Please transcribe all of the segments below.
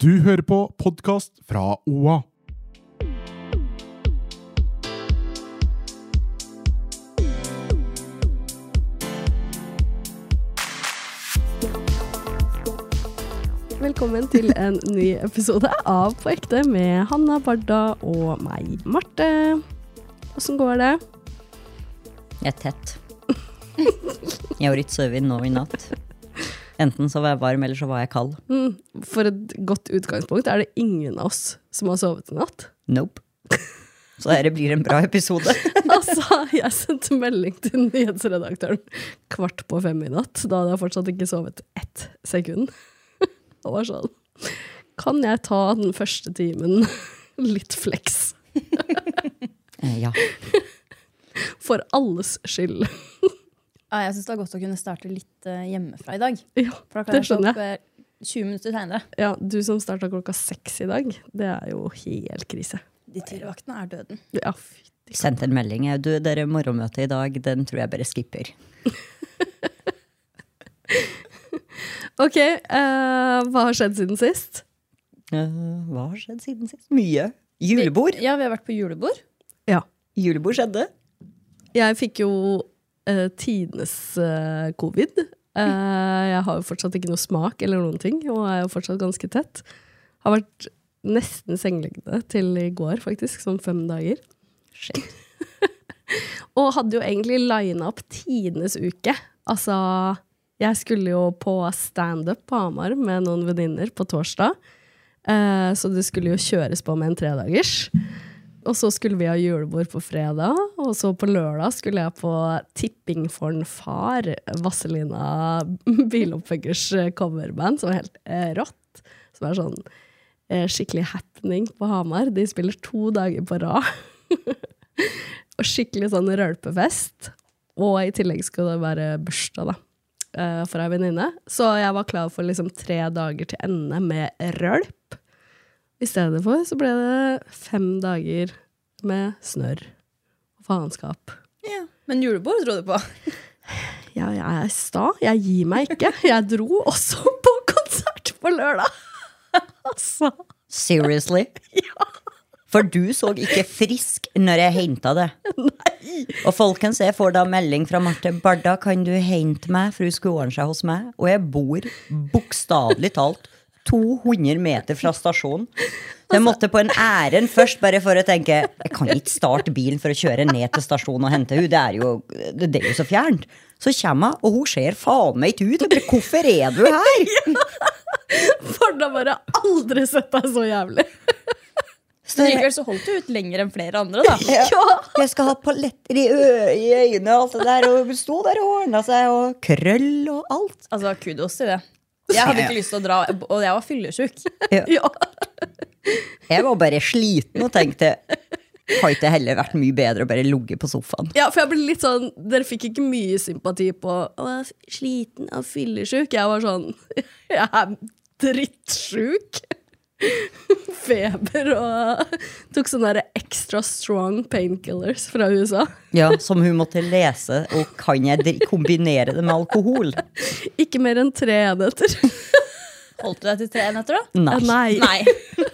Du hører på podkast fra OA. Velkommen til en ny episode av På ekte med Hanna Barda og meg, Marte. Åssen går det? Jeg er tett. Jeg var ikke søvnig nå i natt. Enten så var jeg varm, eller så var jeg kald. For et godt utgangspunkt er det ingen av oss som har sovet i natt. Nope. Så dette blir en bra episode. Altså, jeg sendte melding til nyhetsredaktøren kvart på fem i natt. Da hadde jeg fortsatt ikke sovet ett sekund. Og var sånn Kan jeg ta den første timen litt flex? Eh, Ja. For alles skyld. Ja, Ah, jeg syns det er godt å kunne starte litt eh, hjemmefra i dag. Ja, For da det klarer jeg å stå skjønner opp jeg. eh, 20 minutter seinere. Ja, du som starta klokka seks i dag, det er jo helt krise. De tidligvaktene er døden. Ja, fytti Sendte en melding. jeg, Du, dere morgenmøtet i dag, den tror jeg bare skipper. Ok, eh, hva har skjedd siden sist? Eh, Hva har skjedd siden sist? Mye. Julebord. Ja, vi har vært på julebord. Ja. Julebord skjedde. Jeg fikk jo eh, tidenes eh, covid. Eh, jeg har jo fortsatt ikke noe smak eller noen ting, og er jo fortsatt ganske tett. Har vært nesten sengeliggende til i går, faktisk, sånn fem dager. Shit. Og hadde jo egentlig lina opp tidenes uke. Altså, jeg skulle jo på standup på Hamar med noen venninner på torsdag. Eh, så det skulle jo kjøres på med en tredagers. Og så skulle vi ha julebord på fredag, og så på lørdag skulle jeg på Tipping for en far, Vazelina Biloppveggers coverband, som er helt eh, rått. Som er sånn eh, skikkelig happening på Hamar. De spiller to dager på rad og skikkelig sånn rølpefest. Og i tillegg skal det være bursdag, da. eh, For ei venninne. Så jeg var klar for liksom tre dager til ende med rølp. I stedet for så ble det fem dager med snørr og faenskap. Ja. Men julebord dro du på. Jeg, jeg er sta. Jeg gir meg ikke. Jeg dro også på konsert på lørdag! altså. Seriously? For du så ikke frisk når jeg henta det. Og folkens, jeg får da melding fra Marte Barda, kan du hente meg? For hun skulle ordne seg hos meg. Og jeg bor bokstavelig talt 200 meter fra stasjonen. Så jeg måtte på en ærend først, bare for å tenke Jeg kan ikke starte bilen for å kjøre ned til stasjonen og hente henne. Det er jo, det er jo så fjernt. Så kommer hun, og hun ser faen meg ikke ut. Jeg bare, Hvorfor er du her? Barna bare aldri sett deg så jævlig. Så Men jeg- likevel så holdt du ut lenger enn flere andre, da. Jeg skal ha paletter i, ø i øynene og alt det der. Og hun sto der og ordna seg, og krøll og alt. Altså, kudos til det. Jeg hadde ikke lyst til å dra, og jeg var fyllesyk. Ja. Jeg var bare sliten og tenkte har ikke det heller vært mye bedre å bare ligge på sofaen? Ja, for jeg ble litt sånn Dere fikk ikke mye sympati på Å, jeg er sliten og fyllesyk. Jeg var sånn Jeg er drittsjuk. Feber og Tok sånne der extra strong painkillers fra USA. Ja, Som hun måtte lese. Og kan jeg dri- kombinere det med alkohol? Ikke mer enn tre enheter. Holdt du deg til tre enheter, da? Nei. Nei. Nei.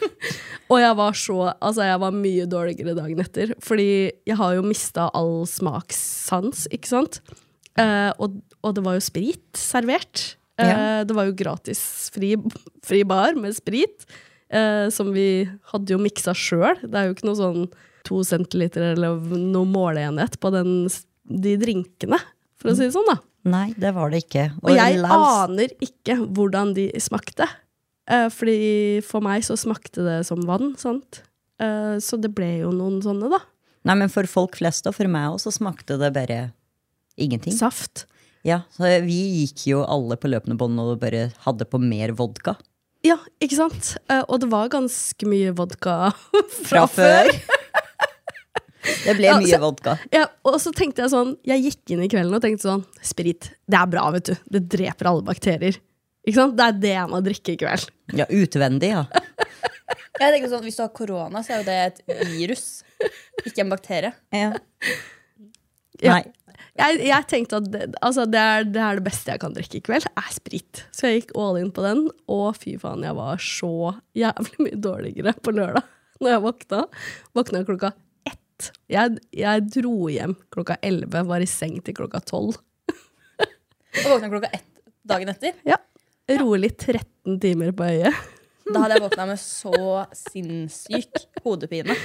Og jeg var så Altså, jeg var mye dårligere dagen etter. Fordi jeg har jo mista all smakssans, ikke sant? Eh, og, og det var jo sprit servert. Eh, Ja. Det var jo gratis fri, fri bar med sprit. eh, som vi hadde jo miksa sjøl. Det er jo ikke noe sånn to centiliter eller noe måleenhet på den, s- de drinkene, for å si det sånn, da. Nei, det var det ikke. Og jeg laus- aner ikke hvordan de smakte. Eh, fordi for meg så smakte det som vann, sant. Eh, så det ble jo noen sånne, da. Nei, men For folk flest og for meg også så smakte det bare ingenting. Saft. Ja, så Vi gikk jo alle på løpende bånd og bare hadde på mer vodka. Ja, ikke sant? Eh, og det var ganske mye vodka Fra fra før. Det ble Ja, mye så- vodka. Ja, og så tenkte jeg sånn Jeg gikk inn i kvelden og tenkte sånn Sprit, det er bra, vet du. Det dreper alle bakterier. Ikke sant? Det er det jeg må drikke i kveld. Ja, utvendig, ja. Jeg tenker sånn, Hvis du har korona, så er jo det et virus, ikke en bakterie. Ja. Nei. Jeg, jeg tenkte at det, altså det, er, det er det beste jeg kan drikke i kveld, er sprit. Så jeg gikk all in på den, og fy faen, jeg var så jævlig mye dårligere på lørdag når jeg våkna. Våkna klokka ett. Jeg, jeg dro hjem klokka elleve, var i seng til klokka tolv. Og våkna klokka ett dagen etter. Ja. Rolig 13 timer på øyet. Da hadde jeg våkna med så sinnssyk hodepine.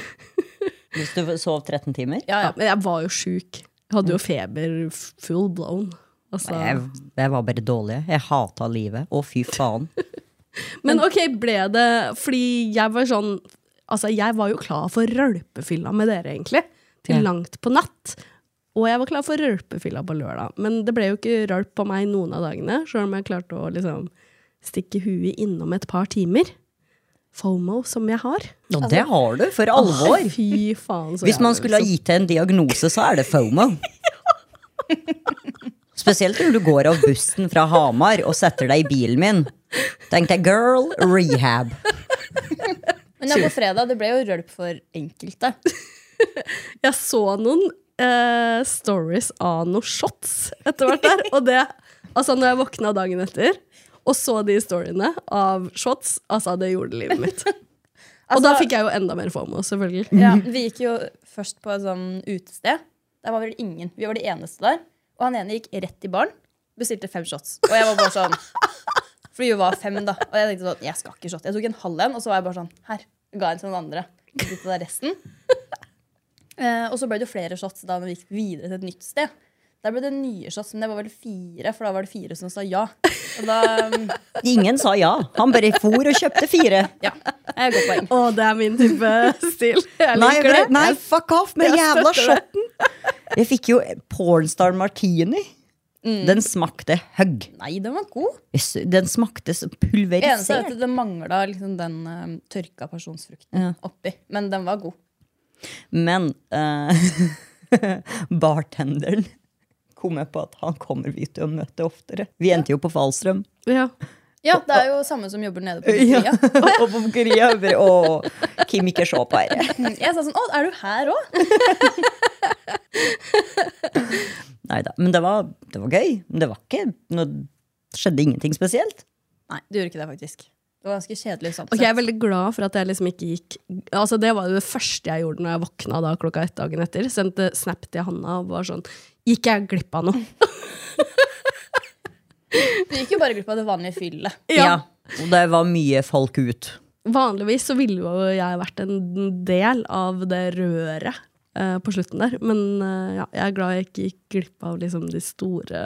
Hvis du sov 13 timer. Ja, ja. Men jeg var jo sjuk. Jeg Hadde jo feber f- full blown. Altså. Jeg, jeg var bare dårlig. Jeg hata livet. Å, fy faen. Men ok, ble det Fordi jeg var sånn Altså, jeg var jo klar for rølpefylla med dere, egentlig. Til Ja. langt på natt. Og jeg var klar for rølpefylla på lørdag. Men det ble jo ikke rølp på meg noen av dagene, sjøl om jeg klarte å liksom stikke huet innom et par timer. FOMO, som jeg har. Og det har du, for alvor. Altså- Fy faen, så Hvis man jævlig, skulle ha liksom. gitt deg en diagnose, så er det FOMO. Spesielt når du går av bussen fra Hamar og setter deg i bilen min. Tenkte jeg, girl, rehab. Men ja, på fredag det ble jo rølp for enkelte. Jeg så noen eh, stories av noen shots etter hvert der. Og det, altså når jeg våkna dagen etter og så de storyene av shots, altså det gjorde livet mitt. og da fikk jeg jo enda mer FOMO, selvfølgelig. Ja, vi gikk jo først på et sånn utested. Der var vel ingen. Vi var de eneste der. Og han ene gikk rett i baren, bestilte fem shots. Og jeg var bare sånn Fordi vi var fem, da. Og jeg tenkte sånn, jeg skal ikke shot. Jeg tok en halv en, og så var jeg bare sånn Her. Ga en til noen andre. Så fikk jeg resten. Eh, og så ble det jo flere shots da når vi gikk videre til et nytt sted. Der ble det nye shots, men det var vel fire, for da var det fire som sa ja. Og da mm, Ingen sa ja. Han bare for og kjøpte fire. Ja. Det er et godt poeng. Å, det er min type stil. Jeg Nei, jeg liker bare, det. nei fuck off med Jeg jævla støtter shotten. Jeg fikk jo pornstar martini. Mm. Den smakte hugg. Nei, den var god. Den smakte så Eneste er pulverisert. at det mangla liksom den eh, tørka pasjonsfrukten Ja. oppi. Men den var god. Men eh, bartenderen kom jeg på at han kommer vi til å møte oftere. Vi endte jo på Falstrøm. Ja. Ja, det er jo samme som jobber nede på Korea. og på Bukeria. jeg bare, Å, Kim, ikke se på her. Jeg sa sånn Å, er du her òg? Neida, Men det var, det var gøy. Men det var ikke noe Skjedde ingenting spesielt. Nei, du gjorde ikke det, faktisk. Det var ganske kjedelig sånn Ok, sett. Jeg er veldig glad for at jeg liksom ikke gikk Altså Det var jo det første jeg gjorde når jeg våkna da klokka ett dagen etter. Sendte snap til Hanna og var sånn Gikk jeg glipp av noe? Du gikk jo bare glipp av det vanlige fyllet. Og det var mye folk ut. Vanligvis så ville jo jeg vært en del av det røret eh, på slutten der. Men eh, ja, jeg er glad jeg ikke gikk glipp av liksom de store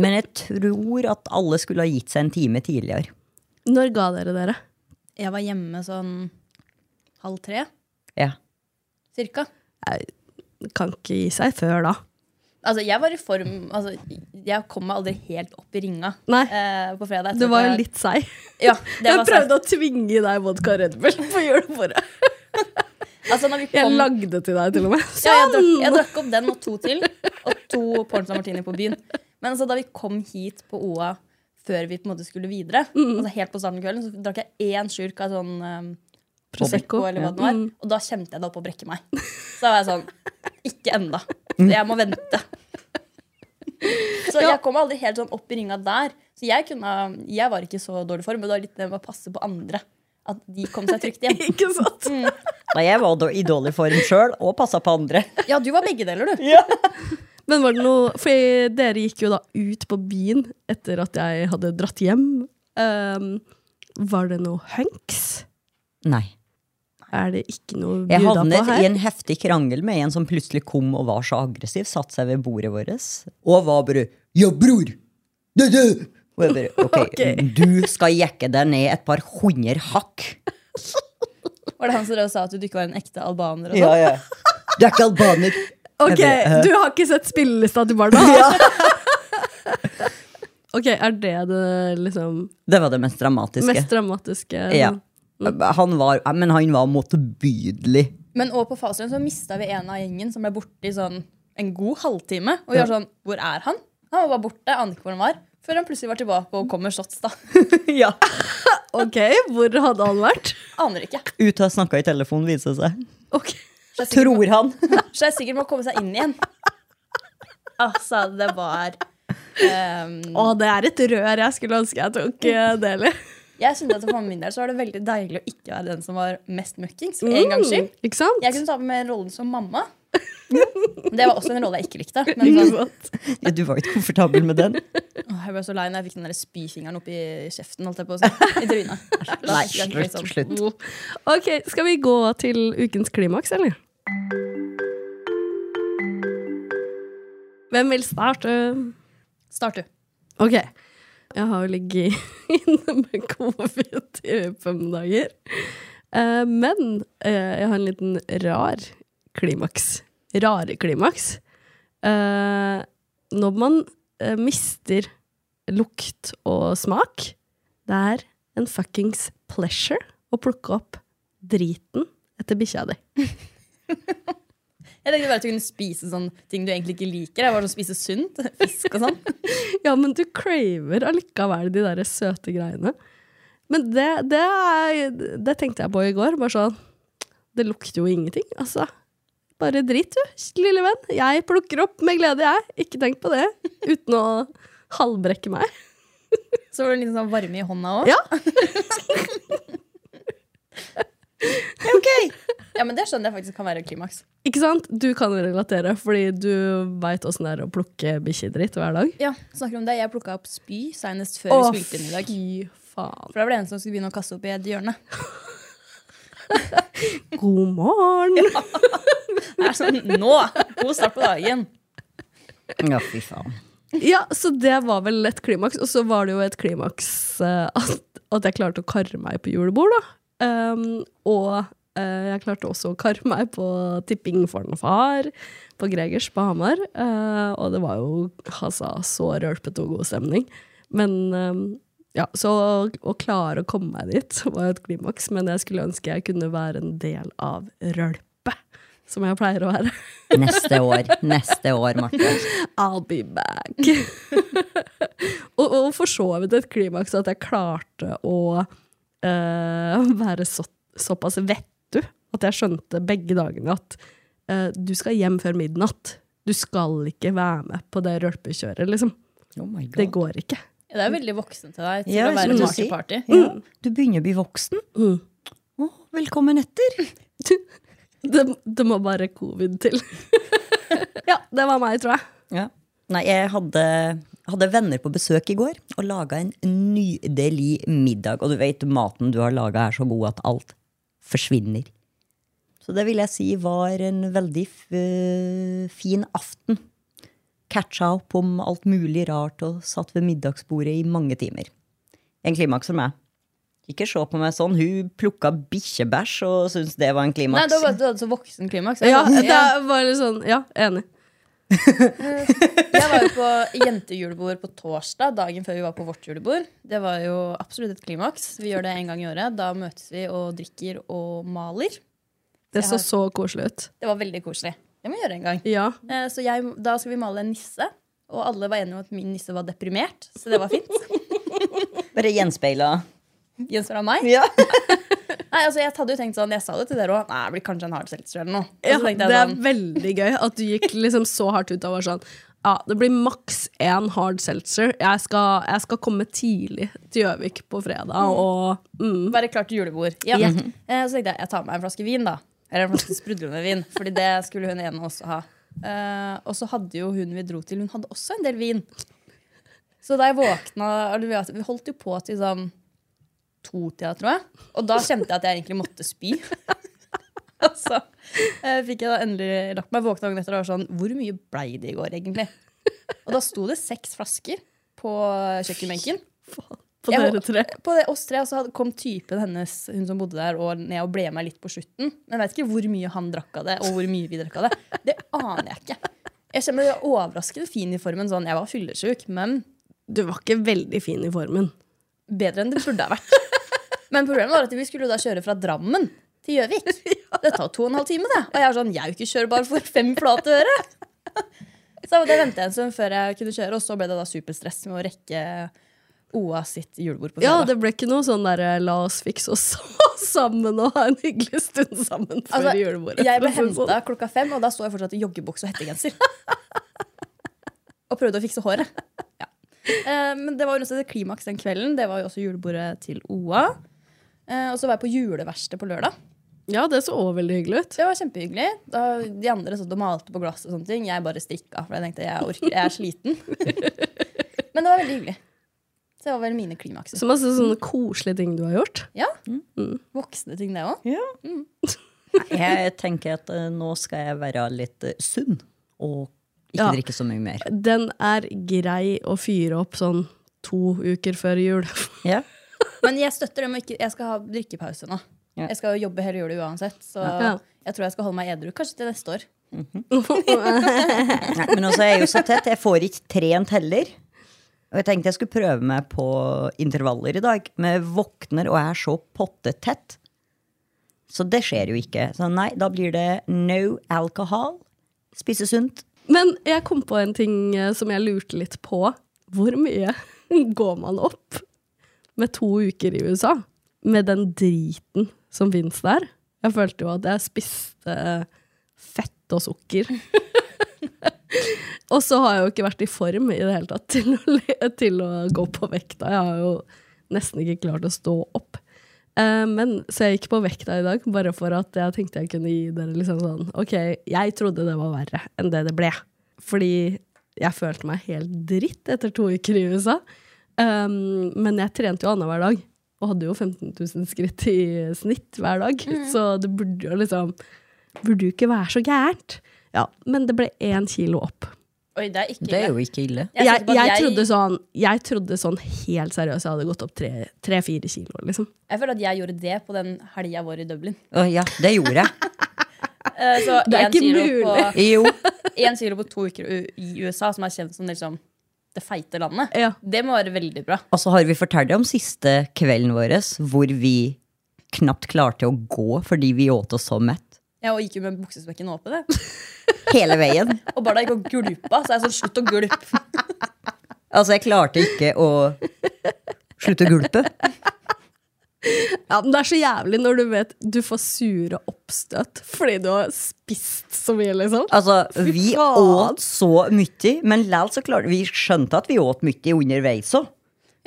Men jeg tror at alle skulle ha gitt seg en time tidligere. Når ga dere dere? Jeg var hjemme sånn halv tre, Ja. cirka. Kan ikke gi seg før da. Altså, jeg var i form altså, Jeg kom meg aldri helt opp i ringa Nei. eh, på fredag. Jeg Du tror var jo ikke jeg- litt seig. Ja, det Jeg var sant. prøvde å tvinge i deg vodka Red Bull på julebordet. Altså, når vi Jeg kom lagde til deg, til og med. Ja, jeg drakk, jeg Sånn! drakk opp den og to til. Og to Pornstar Martini på byen. Men altså, da vi kom hit på OA før vi på en måte skulle videre, altså helt på starten av kvelden, så drakk jeg én slurk av sånn um, Prosecco, eller hva det var. Mm. Og da kjente jeg det opp å brekke meg. Så da var jeg sånn Ikke enda. Jeg må vente. Så jeg kom aldri helt sånn opp i ringa der. Så jeg, kunne, jeg var ikke i så dårlig form, men det var litt det med å passe på andre. At de kom seg trygt hjem. Ikke sant? Da jeg var da- i dårlig form sjøl, og passa på andre. Ja, du var begge deler, du. Men var det noe For dere gikk jo da ut på byen etter at jeg hadde dratt hjem. Ehm, var det noe hunks? Nei. Er det ikke noe å Jeg bjuda på havnet her? i en heftig krangel med en som plutselig kom og var så aggressiv, satt seg ved bordet vårt og var bare 'ja, bror'. Det, det. Og jeg bare ok, du skal jekke deg ned et par hundre hakk. Var det han som drev og sa at du ikke var en ekte albaner? Og sånn? Ja, ja. Du er ikke albaner. Ok, Jeg bare, «Hæ?» Du har ikke sett spillelista til barna? Ja. Ok, er det det liksom Det var det mest dramatiske. mest dramatiske? Mm. ja. Han var, ja, men han var motbydelig. Men også på Faslund så mista vi en av gjengen som ble borte i sånn en god halvtime. Og vi var sånn Hvor er han? Han var bare borte. Ante ikke hvor han var. Før han plutselig var tilbake og kom med shots, da. ja. Ok, hvor hadde han vært? Aner ikke. Ute og snakka i telefon, viser det seg. Ok, Så jeg sikkert, Tror han. så jeg sikkert må komme seg inn igjen. Altså, det var ehm, Å, det er et rør jeg skulle ønske jeg tok eh, del i. Jeg kjente at For min del så var det veldig deilig å ikke være den som var mest møkkings. For en gangs skyld. Mm, Ikke sant? Jeg kunne ta på meg rollen som mamma. Det var også en rolle jeg ikke likte. Mm. Men sånn, Ja, du var jo ikke komfortabel med den. Åh, Jeg ble så lei når jeg fikk den der spyfingeren oppi kjeften. Holdt jeg på å si. I trynet. Nei, Det er ikke slutt. sånn. slutt. Ok, skal vi gå til ukens klimaks, eller? Hvem vil starte? Start, du. Ok, jeg har jo ligget inne med covid i fem dager. Eh, men eh, jeg har en liten rar klimaks. Rare klimaks. Eh, når man eh, mister lukt og smak, det er en fuckings pleasure å plukke opp driten etter bikkja di. Jeg tenkte bare at du kunne spise sånn ting du egentlig ikke liker. Jeg var sånn spise sunt, Fisk og sånn. Ja, men du craver allikevel de der søte greiene. Men det, det, er, det tenkte jeg på i går. Bare sånn Det lukter jo ingenting, altså. Bare drit, du, lille venn. Jeg plukker opp med glede, jeg. Ikke tenk på det. Uten å halvbrekke meg. Så var det litt sånn varme i hånda òg. Ja. ja, men det skjønner jeg faktisk kan være klimaks. Ikke sant? Du kan jo relatere, fordi du veit åssen det er å plukke bikkjedritt hver dag. Ja, snakker om det. Jeg plukka opp spy senest før Å, vi spilte inn i dag. fy faen. For da var det en som skulle begynne å kaste opp i et hjørne. God morgen! Det er sånn, nå! God start på dagen. Ja, fy faen. Ja, så det var vel et klimaks. Og så var det jo et klimaks eh, at, at jeg klarte å karre meg på julebord, da. Um, og eh, jeg klarte også å karre meg på tipping for en far, på Gregers på Hamar. Eh, og det var jo altså, så rølpete og god stemning. Men um, ja, så å, å klare å komme meg dit var jo et klimaks. Men jeg skulle ønske jeg kunne være en del av rølpe, som jeg pleier å være. Neste år. Neste år, Marte. I'll be back. og, og for så vidt et klimaks at jeg klarte å eh, være så, såpass vettu at jeg skjønte begge dagene at eh, du skal hjem før midnatt. Du skal ikke være med på det rølpekjøret, liksom. Oh my God. Det går ikke. Ja, det er veldig voksen til deg til Ja, som å være du party sier. party. Ja, du begynner å bli voksen. Mm. Å, velkommen etter. Det, det må bare covid til. ja, det var meg, tror jeg. Ja. Nei, jeg hadde, hadde venner på besøk i går og laga en nydelig middag. Og du vet, maten du har laga er så god at alt forsvinner. Så det vil jeg si var en veldig f fin aften. Catcha opp om alt mulig rart og satt ved middagsbordet i mange timer. En klimaks for meg. Ikke se på meg sånn. Hun plukka bikkjebæsj og syntes det var en Nei, klimaks. det var bare at du hadde så voksen klimaks. Jeg, Ja, var- det jeg, var litt sånn, ja, enig. jeg var jo på jentejulebord på torsdag, dagen før vi var på vårt julebord. Det var jo absolutt et klimaks. Vi gjør det en gang i året. Da møtes vi og drikker og maler. Det så så koselig ut. Det var veldig koselig. Det må vi gjøre en gang. Ja. Eh, Så jeg, da skal vi male en nisse. Og alle var enige om at min nisse var deprimert, så det var fint. Bare gjenspeila. Gjenstår av meg. Ja. Nei, altså Jeg hadde jo tenkt sånn, jeg sa det til dere òg. Nei, det blir kanskje en hard seltzer eller noe. Og Ja, så tenkte det jeg er sånn, veldig gøy at du gikk liksom så hardt ut og var sånn Ja, det blir maks én hard seltzer. Jeg skal, jeg skal komme tidlig til Gjøvik på fredag, og mm. være klar til julebord. Ja. Eh, Så tenkte jeg jeg tar med meg en flaske vin, da. Eller en flaske sprudlende vin. Fordi det skulle hun ene også ha. Eh, og så hadde jo hun vi dro til, hun hadde også en del vin. Så da jeg våkna eller vi vet- Vi holdt jo på til sånn to-tida, tror jeg. Og da kjente jeg at jeg egentlig måtte spy. Og så eh, fikk jeg da endelig lagt meg. Våkna dagen etter og var sånn Hvor mye blei det i går, egentlig? Og da sto det seks flasker på kjøkkenbenken. på Jeg- dere tre. På det, oss tre og så hadde- kom typen hennes, hun som bodde der, og ned og ble med litt på slutten. Men jeg vet ikke hvor mye han drakk av det, og hvor mye vi drakk av det. Det aner jeg ikke. Jeg kjenner meg overraskende fin i formen. sånn, Jeg var fyllesyk, men du var ikke veldig fin i formen. Bedre enn det burde ha vært. Men problemet var at vi skulle jo da kjøre fra Drammen til Gjøvik. Det tar to og en halv time, det. Og jeg er sånn, jeg er jo ikke kjørbar for fem flate øre. Så da ventet jeg en stund før jeg kunne kjøre, og så ble det da superstress med å rekke OA sitt julebord på Ja, fredag. det ble ikke noe sånn der 'la oss fikse oss sammen og ha en hyggelig stund sammen' før Altså, julebordet. Jeg ble for å si det sånn. henta klokka fem, og da sto jeg fortsatt i joggebukse og hettegenser. og prøvde å fikse håret. Ja. Eh, men det var jo også et klimaks den kvelden. Det var jo også julebordet til OA. Eh, og så var jeg på juleverksted på lørdag. Ja, det så òg veldig hyggelig ut. Det var kjempehyggelig. Da, de andre satt og malte på glass, og sånne ting. jeg bare strikka. For jeg tenkte jeg, orker, jeg er sliten. men det var veldig hyggelig. Så det var vel mine klimakser. Så masse sånne koselige ting du har gjort. Ja. Mm. Voksne ting, det òg. Jeg tenker at eh, nå skal jeg være litt eh, sunn og ikke Ja. drikke så mye mer. Den er grei å fyre opp sånn to uker før jul. Ja. Men jeg støtter dem. og Ikke, jeg skal ha drikkepause nå. Ja. Jeg skal jo jobbe hele jula uansett, så Ja. jeg tror jeg skal holde meg edru. Kanskje til neste år. Nei, men også er jeg jo så tett. Jeg får ikke trent heller. Og jeg tenkte jeg skulle prøve meg på intervaller i dag. Men jeg våkner og er så pottetett. Så det skjer jo ikke. Så nei, da blir det no alcohol. Spise sunt. Men jeg kom på en ting eh, som jeg lurte litt på. Hvor mye går man opp med to uker i USA? Med den driten som fins der? Jeg følte jo at jeg spiste eh, fett og sukker. og så har jeg jo ikke vært i form i det hele tatt til å, le- til å gå på vekta. Jeg har jo nesten ikke klart å stå opp. Eh, Men, så jeg gikk på vekta i dag, bare for at jeg tenkte jeg kunne gi dere liksom sånn Ok, jeg trodde det var verre enn det det ble. Fordi jeg følte meg helt dritt etter to uker i USA. Um, men jeg trente jo annenhver dag, og hadde jo 15 000 skritt i snitt hver dag. Så det burde jo liksom Burde jo ikke være så gærent. Ja, men det ble én kilo opp. Oi, det er ikke Det er jo ikke ille. Jeg, er Jeg, sikker på jeg, at trodde jeg, sånn, jeg trodde sånn helt seriøst jeg hadde gått opp tre- tre-fire kilo, liksom. jeg føler at jeg gjorde det på den helga vår i Dublin. Å ja, det gjorde jeg. Eh, Så Det er en ikke kilo på- Jo. en kilo på to uker u- i USA, som er kjent som liksom, det feite landet, Ja. det må være veldig bra. Og så har vi fortalt om siste kvelden vår hvor vi knapt klarte å gå fordi vi åt oss så mett. Jeg og gikk jo med buksespekken åpen. jeg. Hele veien. Og Barda gikk og gulpa, så jeg sånn slutt å gulpe. Altså, jeg klarte ikke å slutte å gulpe. Ja, men Det er så jævlig når du vet du får sure oppstøt fordi du har spist så mye, liksom. Altså, vi faen. åt så mye, men likevel så klarte vi skjønte at vi åt mye underveis òg.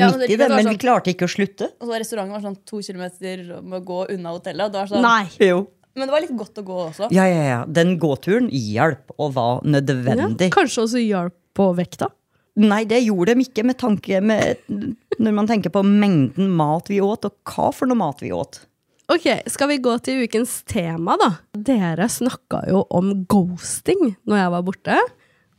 Ja, men Midt i det, det- det var men sånn- vi klarte ikke å slutte. Og så var restauranten var sånn to kilometer med å gå unna hotellet. Og det var sånn, Jo. Men det var litt godt å gå også. Ja, ja, ja. Den gåturen hjalp og var Ja, nødvendig. kanskje også hjelp på vekta. Nei, det gjorde de ikke med tanke med, når man tenker på mengden mat vi åt, og hva for noe mat vi åt. Ok, Skal vi gå til ukens tema, da? Dere snakka jo om ghosting når jeg var borte.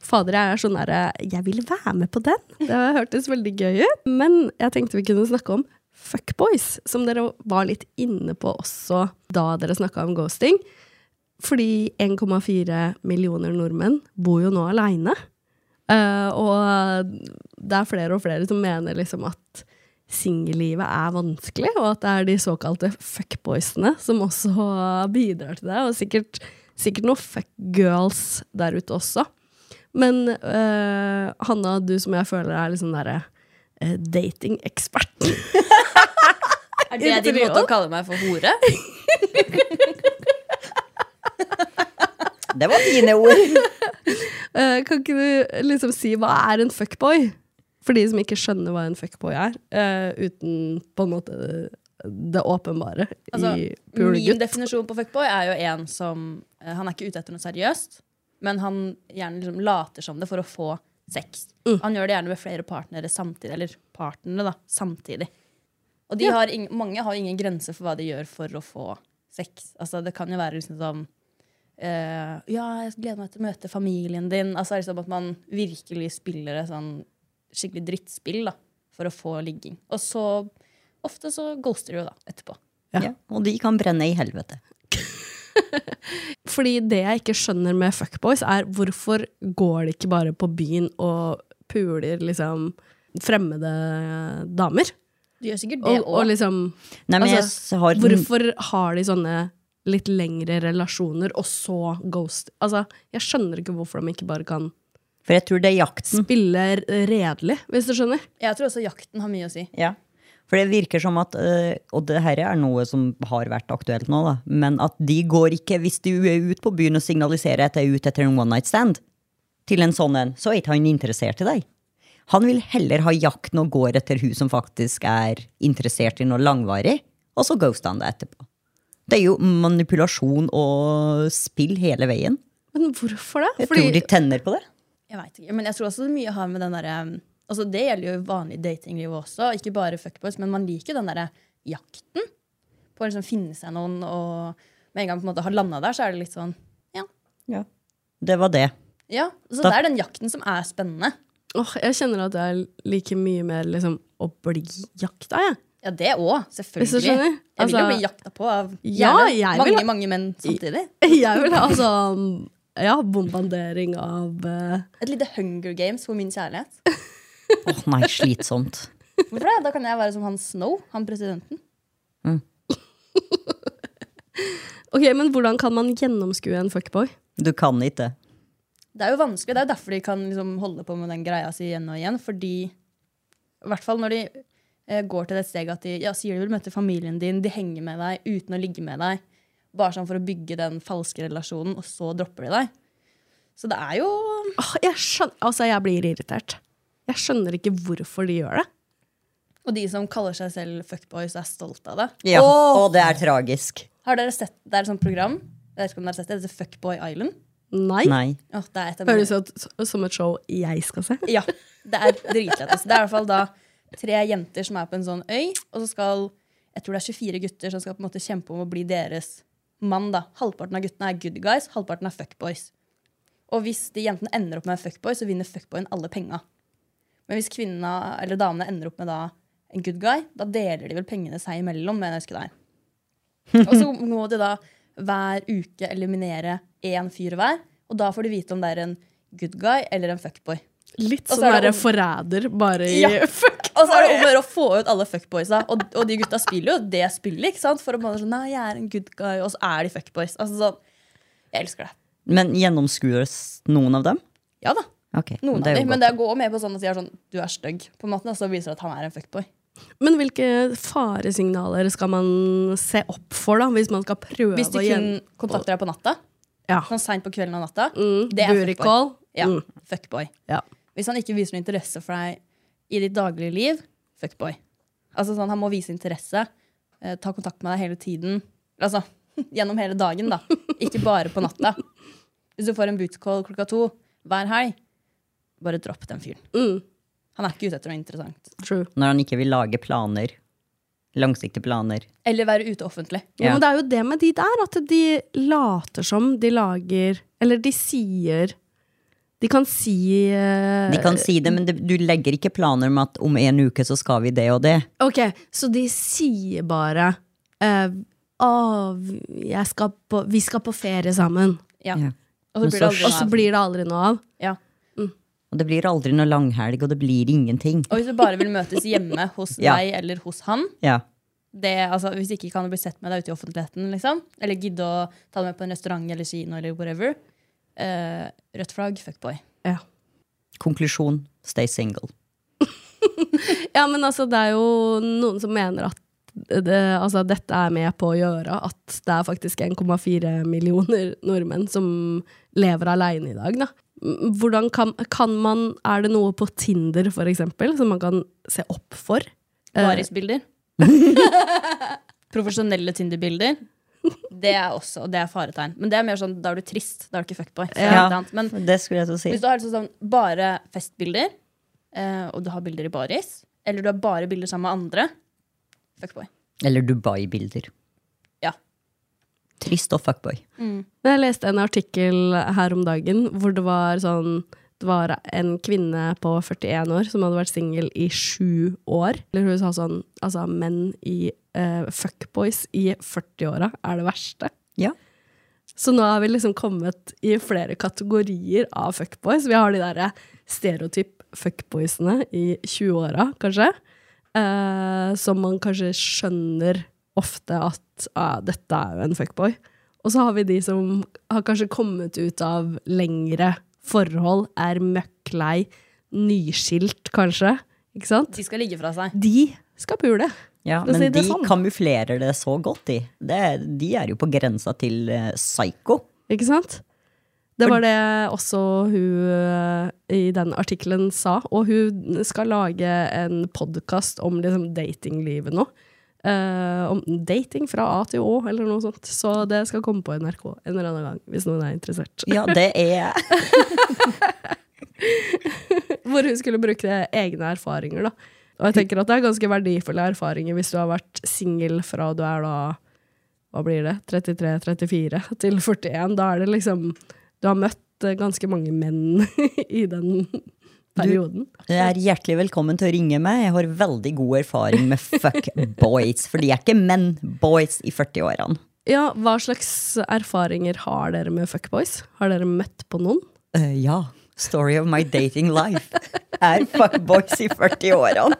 Fader, jeg er sånn derre Jeg vil være med på den! Det hørtes veldig gøy ut. Men jeg tenkte vi kunne snakke om fuckboys, som dere var litt inne på også da dere snakka om ghosting. Fordi 1,4 millioner nordmenn bor jo nå aleine. og det er flere og flere som mener liksom at singellivet er vanskelig, og at det er de såkalte fuckboysene som også bidrar til det. Og sikkert, sikkert noen fuckgirls der ute også. Men eh, Hanna, du som jeg føler er liksom derre eh, datingekspert Er det din Interiør? måte å kalle meg for hore? Det var dine ord. Eh, kan ikke du liksom si hva er en fuckboy? For de som ikke skjønner hva en fuckboy er, eh, uten på en måte det åpenbare Altså, i min pulegutt. definisjon på fuckboy er jo en som eh, Han er ikke ute etter noe seriøst, men han gjerne liksom later som det for å få sex. Han gjør det gjerne med flere partnere samtidig. Eller partnere, da. Samtidig. Og de har ing- mange har ingen grenser for hva de gjør for å få sex. Altså, det kan jo være liksom som eh, Ja, jeg gleder meg til å møte familien din. Altså liksom at man virkelig spiller et sånn skikkelig drittspill da, for å få ligging. Og så Ofte så ghoster de jo da, etterpå. Ja, og de kan brenne i helvete. Fordi det jeg ikke skjønner med fuckboys, er hvorfor går de ikke bare på byen og puler liksom fremmede damer. Du gjør sikkert det Og, og òg. liksom Nei, men altså, jeg har Hvorfor har de sånne litt lengre relasjoner, og så ghost Altså, Jeg skjønner ikke hvorfor de ikke bare kan For jeg tror det er Mm. jakten. spille redelig, hvis du skjønner. Jeg tror også jakten har mye å si. Ja. For det virker som at eh, Og det her er noe som har vært aktuelt nå, da. Men at de går ikke, hvis du er ute på byen og signaliserer at jeg er ute etter en one night stand, til en sånn en, så er ikke han interessert i deg. Han vil heller ha jakten og går etter hun som faktisk er interessert i noe langvarig, og så ghoster han deg etterpå. Det er jo manipulasjon og spill hele veien. Men hvorfor det? Jeg tror de tenner på det. Jeg vet ikke, men jeg tror også det mye har med den derre um, Altså Det gjelder jo i vanlig datingliv også, ikke bare fuckboys, men man liker jo den derre jakten på å liksom finne seg noen, og med en gang på en måte har landa der, så er det litt sånn Ja. Det var det. ja. Så Da- det er den jakten som er spennende. Åh, jeg kjenner at jeg liker mye mer liksom, å bli jakta, jeg. Ja, det òg, Hvis du selvfølgelig. Jeg skjønner? vil jo Altså- bli jakta på av Ja, gjerne jeg vil mange, ha- mange menn samtidig. Jeg vil ha sånn ja, bombardering av eh, Et lite Hunger Games for min kjærlighet. Åh nei, slitsomt. Hvorfor det? Da kan jeg være som han Snow, han presidenten. Ok, men hvordan kan man gjennomskue en fuckboy? Du kan ikke. Det er jo vanskelig, det er derfor de kan liksom holde på med den greia si igjen og igjen. Fordi, i hvert fall når de eh, går til det steget at de ja, sier de vil møte familien din, de henger med deg uten å ligge med deg, bare sånn for å bygge den falske relasjonen, og så dropper de deg. Så det er jo Åh, jeg, skjønner, altså, jeg blir irritert. Jeg skjønner ikke hvorfor de gjør det. Og de som kaller seg selv fuckboys, er stolt av det. Ja, og det er tragisk. Har dere sett, Det er et sånt program, jeg vet ikke om dere har sett det, det heter Fuckboy Island. Nei. Nei. Åh, det er et av mine- Høres ut som et show jeg skal se. Ja, det er dritlættis. Det er i hvert fall da tre jenter som er på en sånn øy, og så skal jeg tror det er 24 gutter som skal på en måte kjempe om å bli deres mann. da. Halvparten av guttene er good guys, halvparten er fuckboys. Og hvis de jentene ender opp med en fuckboy, så vinner fuckboyen alle penga. Men hvis kvinna, eller damene ender opp med da en good guy, da deler de vel pengene seg imellom. mener jeg å huske det er. Og så må de da hver uke eliminere én fyr hver, og da får de vite om det er en good guy eller en fuckboy. Litt Og så sånn er det derre om- forræder, bare i Ja. fuck. Og så er det om å gjøre å få ut alle fuckboysa. Og, og de gutta spiller jo det spillet. ikke sant? For å bare sånn, nei, jeg er en good guy, og så er de fuckboys. Altså sånn, Jeg elsker det. Men gjennomskues noen av dem? Ja da, Ok, noen er av jo dem. Men godt. det går med på sånn at de er sånn Du er stygg, på en måte. Og så viser det at han er en fuckboy. Men hvilke faresignaler skal man se opp for, da? Hvis man skal prøve Hvis de å kun gjen- kontakter deg på natta, ja. sånn seint på kvelden og natta, mm, det er fuckboy. Burikål. Ja, Mm. fuckboy. Ja. Hvis han ikke viser noe interesse for deg i ditt daglige liv, fuckboy. Altså sånn, Han må vise interesse, eh, ta kontakt med deg hele tiden. Altså gjennom hele dagen, da. Ikke bare på natta. Hvis du får en bootcall klokka to hver helg, bare dropp den fyren. Mm, Han er ikke ute etter noe interessant. true. Når han ikke vil lage planer. Langsiktige planer. Eller være ute offentlig. Ja, Ja. Men det er jo det med de der, at de later som de lager Eller de sier De kan si eh, De kan si det, men det, du legger ikke planer med at om en uke så skal vi det og det. Ok, så de sier bare eh, Å, jeg skal på, vi skal på ferie sammen. Ja. Ja. Og så Men blir det så- aldri Og noe så av. blir det aldri noe av. Ja. Og det blir aldri noe langhelg, og det blir ingenting. Og hvis du bare vil møtes hjemme hos Ja. deg eller hos han, Ja. det, altså, hvis ikke kan du bli sett med deg ute i offentligheten, liksom. Eller gidde å ta det med på en restaurant eller kino eller whatever. Eh, rødt flagg, fuckboy. Ja. Konklusjon stay single. ja, men altså, det er jo noen som mener at det, altså, dette er med på å gjøre at det er faktisk 1,4 millioner nordmenn som lever aleine i dag, da. M- Hvordan kan, kan man Er det noe på Tinder, for eksempel, som man kan se opp for? Eh. Barisbilder. Profesjonelle Tinder-bilder. Det er også det er faretegn. Men det er mer sånn, da er du trist. Da er du ikke fuckboy. Det er Ja. noe annet. Men Det skulle jeg til å si. hvis du har liksom sånn, bare festbilder, eh, og du har bilder i baris, eller du har bare bilder sammen med andre, fuckboy. Eller Dubai-bilder. Ja. Trist og fuckboy. Men jeg leste en artikkel her om dagen hvor det var sånn det var en kvinne på 41 år som hadde vært singel i sju år. Eller hun sa sånn Altså, menn i eh, fuckboys i 40-åra er det verste. Ja. Så nå har vi liksom kommet i flere kategorier av fuckboys. Vi har de derre stereotyp fuckboysene i 20-åra, kanskje. Eh, som man kanskje skjønner ofte at ah, dette er jo en fuckboy. Og så har vi de som har kanskje kommet ut av lengre forhold, er møkk lei, nyskilt kanskje. Ikke sant? De skal ligge fra seg. De skal pule. Ja, for å men si det de sånn. kamuflerer det så godt, de. Det, er- de er jo på grensa til eh, psycho. Ikke sant? Det var det også hun eh, i den artikkelen sa. Og hun skal lage en podkast om liksom datinglivet nå. Eh, om dating fra A til Å, eller noe sånt. Så det skal komme på NRK en eller annen gang, hvis noen er interessert. Ja, det er Hvor hun skulle bruke egne erfaringer, da. Og jeg tenker at det er ganske verdifulle erfaringer hvis du har vært singel fra du er da Hva blir det? 33-34 til 41. Da er det liksom Du har møtt eh, ganske mange menn i den perioden. Du er hjertelig velkommen til å ringe meg. Jeg har veldig god erfaring med fuck boys. For de er ikke menn, boys i 40-årene. Ja, hva slags erfaringer har dere med fuckboys? Har dere møtt på noen? Eh, ja. Story of my dating life. Er fuck boys i 40-årene.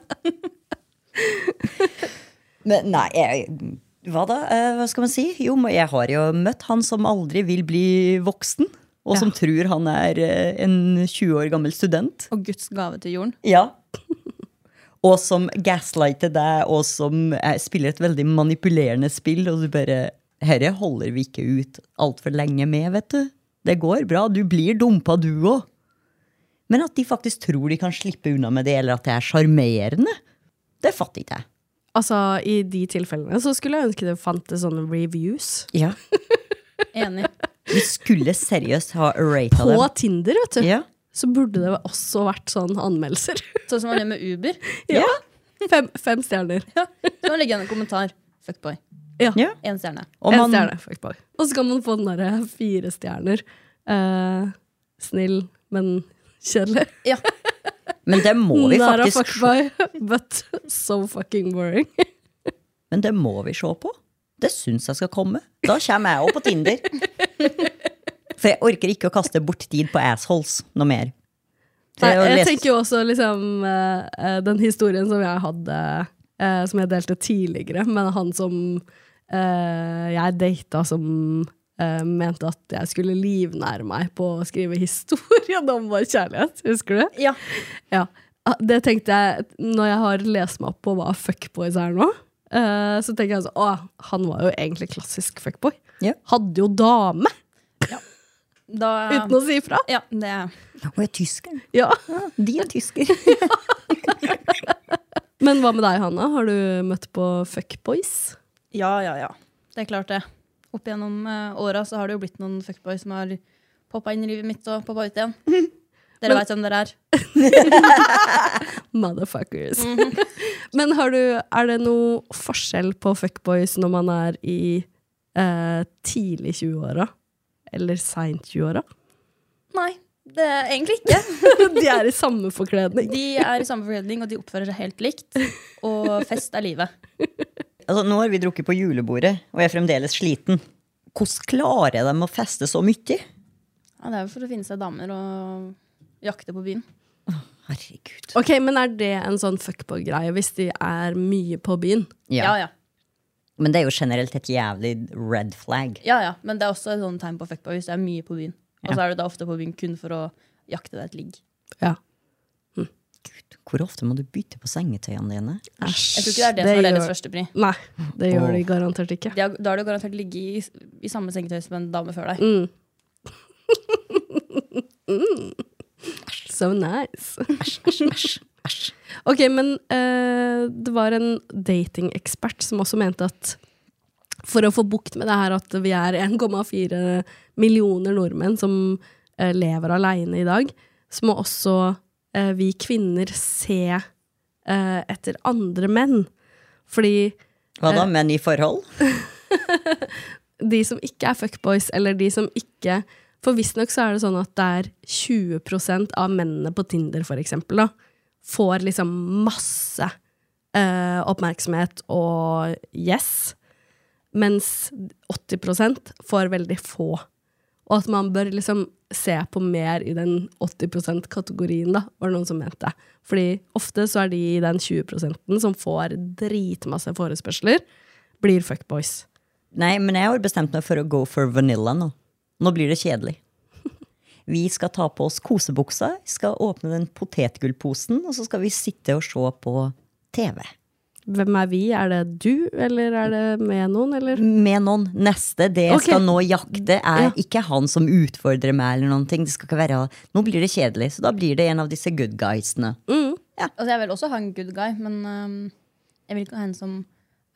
Men nei, jeg, hva da? Eh, hva skal man si? Jo, men jeg har jo møtt han som aldri vil bli voksen. Og som tror han er eh, en 20 år gammel student. Og Guds gave til jorden. Ja. Og som gaslighter deg, og som eh, spiller et veldig manipulerende spill, og du bare Herre holder vi ikke ut altfor lenge med, vet du. Det går bra. Du blir dumpa, du òg. Men at de faktisk tror de kan slippe unna med det, eller at det er sjarmerende, det fatter ikke jeg. Altså, I de tilfellene så skulle jeg ønske det fantes sånne reviews. Ja. Enig. Vi skulle seriøst ha rata På dem. Tinder, vet du. Ja. Så burde det også vært sånn anmeldelser. Sånn som man gjør med Uber. Ja. Fem, fem stjerner. Ja. Så man legger igjen en kommentar. Fuckboy. Ja. Én stjerne. Og en man, stjerne, fuckboy. Og så kan man få den derre fire stjerner. Eh, snill, men kjedelig. Ja. men det må vi Næra faktisk se- fuckboy, but so fucking boring. Men det må vi se på. Det syns jeg skal komme. Da kommer jeg òg på Tinder. For jeg orker ikke å kaste bort tid på assholes noe mer. Så Nei, har jeg lest- tenker jo også liksom eh, eh, den historien som jeg hadde, eh, som jeg delte tidligere, men han som eh, jeg data som eh, mente at jeg skulle livnære meg på å skrive historien om vår kjærlighet, husker du? Ja. Ja, Ah, det tenkte jeg når jeg har lest meg opp på hva fuckboys er nå. eh, så tenker jeg sånn, å, han var jo egentlig klassisk fuckboy. Ja. Hadde jo dame, Da uten å si ifra. Ja, det er Hun er tysker. Ja. De er tysker. Men hva med deg, Hanna? Har du møtt på fuckboys? Ja, ja, ja. Det er klart, det. Opp gjennom uh, åra så har det jo blitt noen fuckboys som har poppa inn i livet mitt og poppa ut igjen. Dere veit hvem dere er. Motherfuckers. Men har du, er det noe forskjell på fuckboys når man er i eh, tidlig 20-åra? Eller seint 20-åra? Nei, det er egentlig ikke. De er i samme forkledning. De er i samme forkledning, og de oppfører seg helt likt. Og fest er livet. Altså, nå har vi drukket på julebordet, og jeg er fremdeles sliten. Hvordan klarer de å feste så mye? Ja, det er jo for å finne seg damer og jakte på byen. Herregud. Ok, Men er det en sånn fuckboy-greie hvis de er mye på byen? Ja, Ja. ja. Men det er jo generelt et jævlig red flag. ja, ja. Men det er også et sånt tegn på fuckboy hvis det er mye på byen. Og så er du da ofte på byen kun for å jakte deg et ligg. Ja. Gud, hvor ofte må du bytte på sengetøyene dine? Æsj. Jeg tror ikke det er det, som er deres gjør- førstepri. Nei, det gjør de Åh. garantert ikke. De har- Da har du garantert ligget i, i samme sengetøy som en dame før deg. Mm. So nice. Ok, men eh, det var en datingekspert som også mente at for å få bukt med det her at vi er 1,4 millioner nordmenn som eh, lever aleine i dag, så må også eh, vi kvinner se eh, etter andre menn. Fordi Hva Eh. da, menn i forhold? de som ikke er fuckboys, eller de som ikke For visstnok så er det sånn at det er 20 av mennene på Tinder, for eksempel, da, får liksom masse eh, oppmerksomhet og yes, mens 80 får veldig få. Og at man bør liksom se på mer i den 80 %-kategorien, da, var det noen som mente. Fordi ofte så er de i den 20 som får dritmasse forespørsler, blir fuckboys. Nei, men jeg har bestemt meg for å go for vanilla nå. Nå blir det kjedelig. Vi skal ta på oss kosebuksa, skal åpne den potetgullposen, og så skal vi sitte og se på TV. Hvem er vi? Er det du, eller er det med noen, eller? Med noen. Neste det jeg Ok. skal nå jakte, er Ja. ikke han som utfordrer meg. eller noen ting. Det skal ikke være, Nå blir det kjedelig, så da blir det en av disse good guysene. Altså, jeg vil også ha en good guy, men øhm, jeg vil ikke ha en som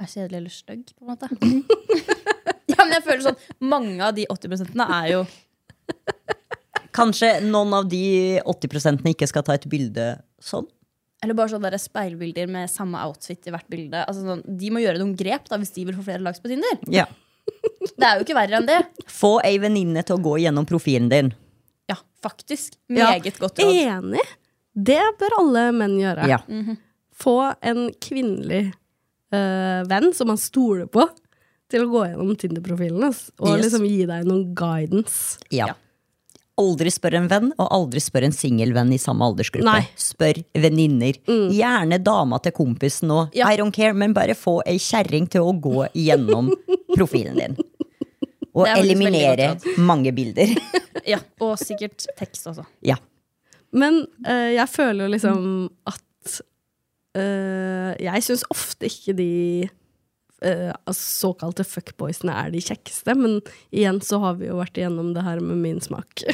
er kjedelig eller stygg. på en måte. ja, men jeg føler sånn, Mange av de 80 er jo Kanskje noen av de 80 ikke skal ta et bilde sånn. Eller bare sånn der speilbilder med samme outfit i hvert bilde. Altså sånn, De må gjøre noen grep da, hvis de vil få flere likes på Tinder. Ja. Det er jo ikke verre enn det. Få ei venninne til å gå gjennom profilen din. Ja, faktisk. Meget godt råd. Enig! Det bør alle menn gjøre. Ja. få en kvinnelig eh, venn som man stoler på, til å gå gjennom Tinder-profilen ass, og Yes. liksom gi deg noen guidance. Ja. Aldri spør en venn, og aldri spør en singelvenn i samme aldersgruppe. Nei. Spør venninner. Mm. Gjerne dama til kompisen òg. I don't care, men bare få ei kjerring til å gå gjennom profilen din. Og Det er faktisk eliminere veldig godt mange bilder. Ja, og sikkert tekst også. Ja. Men eh, jeg føler jo liksom at eh, Jeg syns ofte ikke de eh, altså såkalte fuckboysene er de kjekkeste, men igjen så har vi jo vært igjennom det her med min smak.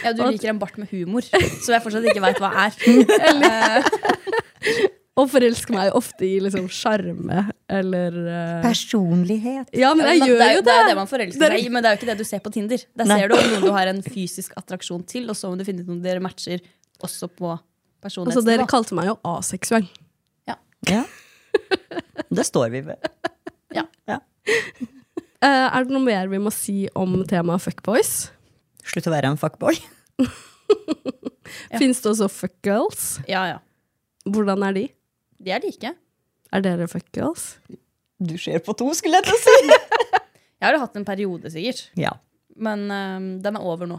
Ja, Du liker en bart med humor, som jeg fortsatt ikke veit hva er. Eh, og forelsker meg ofte i liksom sjarme eller eh, Personlighet. Ja, men jeg Men gjør det, er, jo jo- det er jo det man forelsker Det er- seg i, men det er jo ikke det du ser på Tinder. Der Nei. ser du om noen du har en fysisk attraksjon til, og så må du finne ut om dere matcher også på Altså, dere personlighetsnivå. kalte meg jo aseksuell. Ja. Det står vi ved. Eh, er det noe mer vi må si om temaet fuckboys? Slutt å være en fuckboy. Finnes Fins det også fuckgirls? Ja, ja. Hvordan er de? De er like. Er dere fuckgirls? Du ser på to, skulle jeg til å si. Jeg har jo hatt en periode, sikkert. Ja. Men øhm, den er over nå.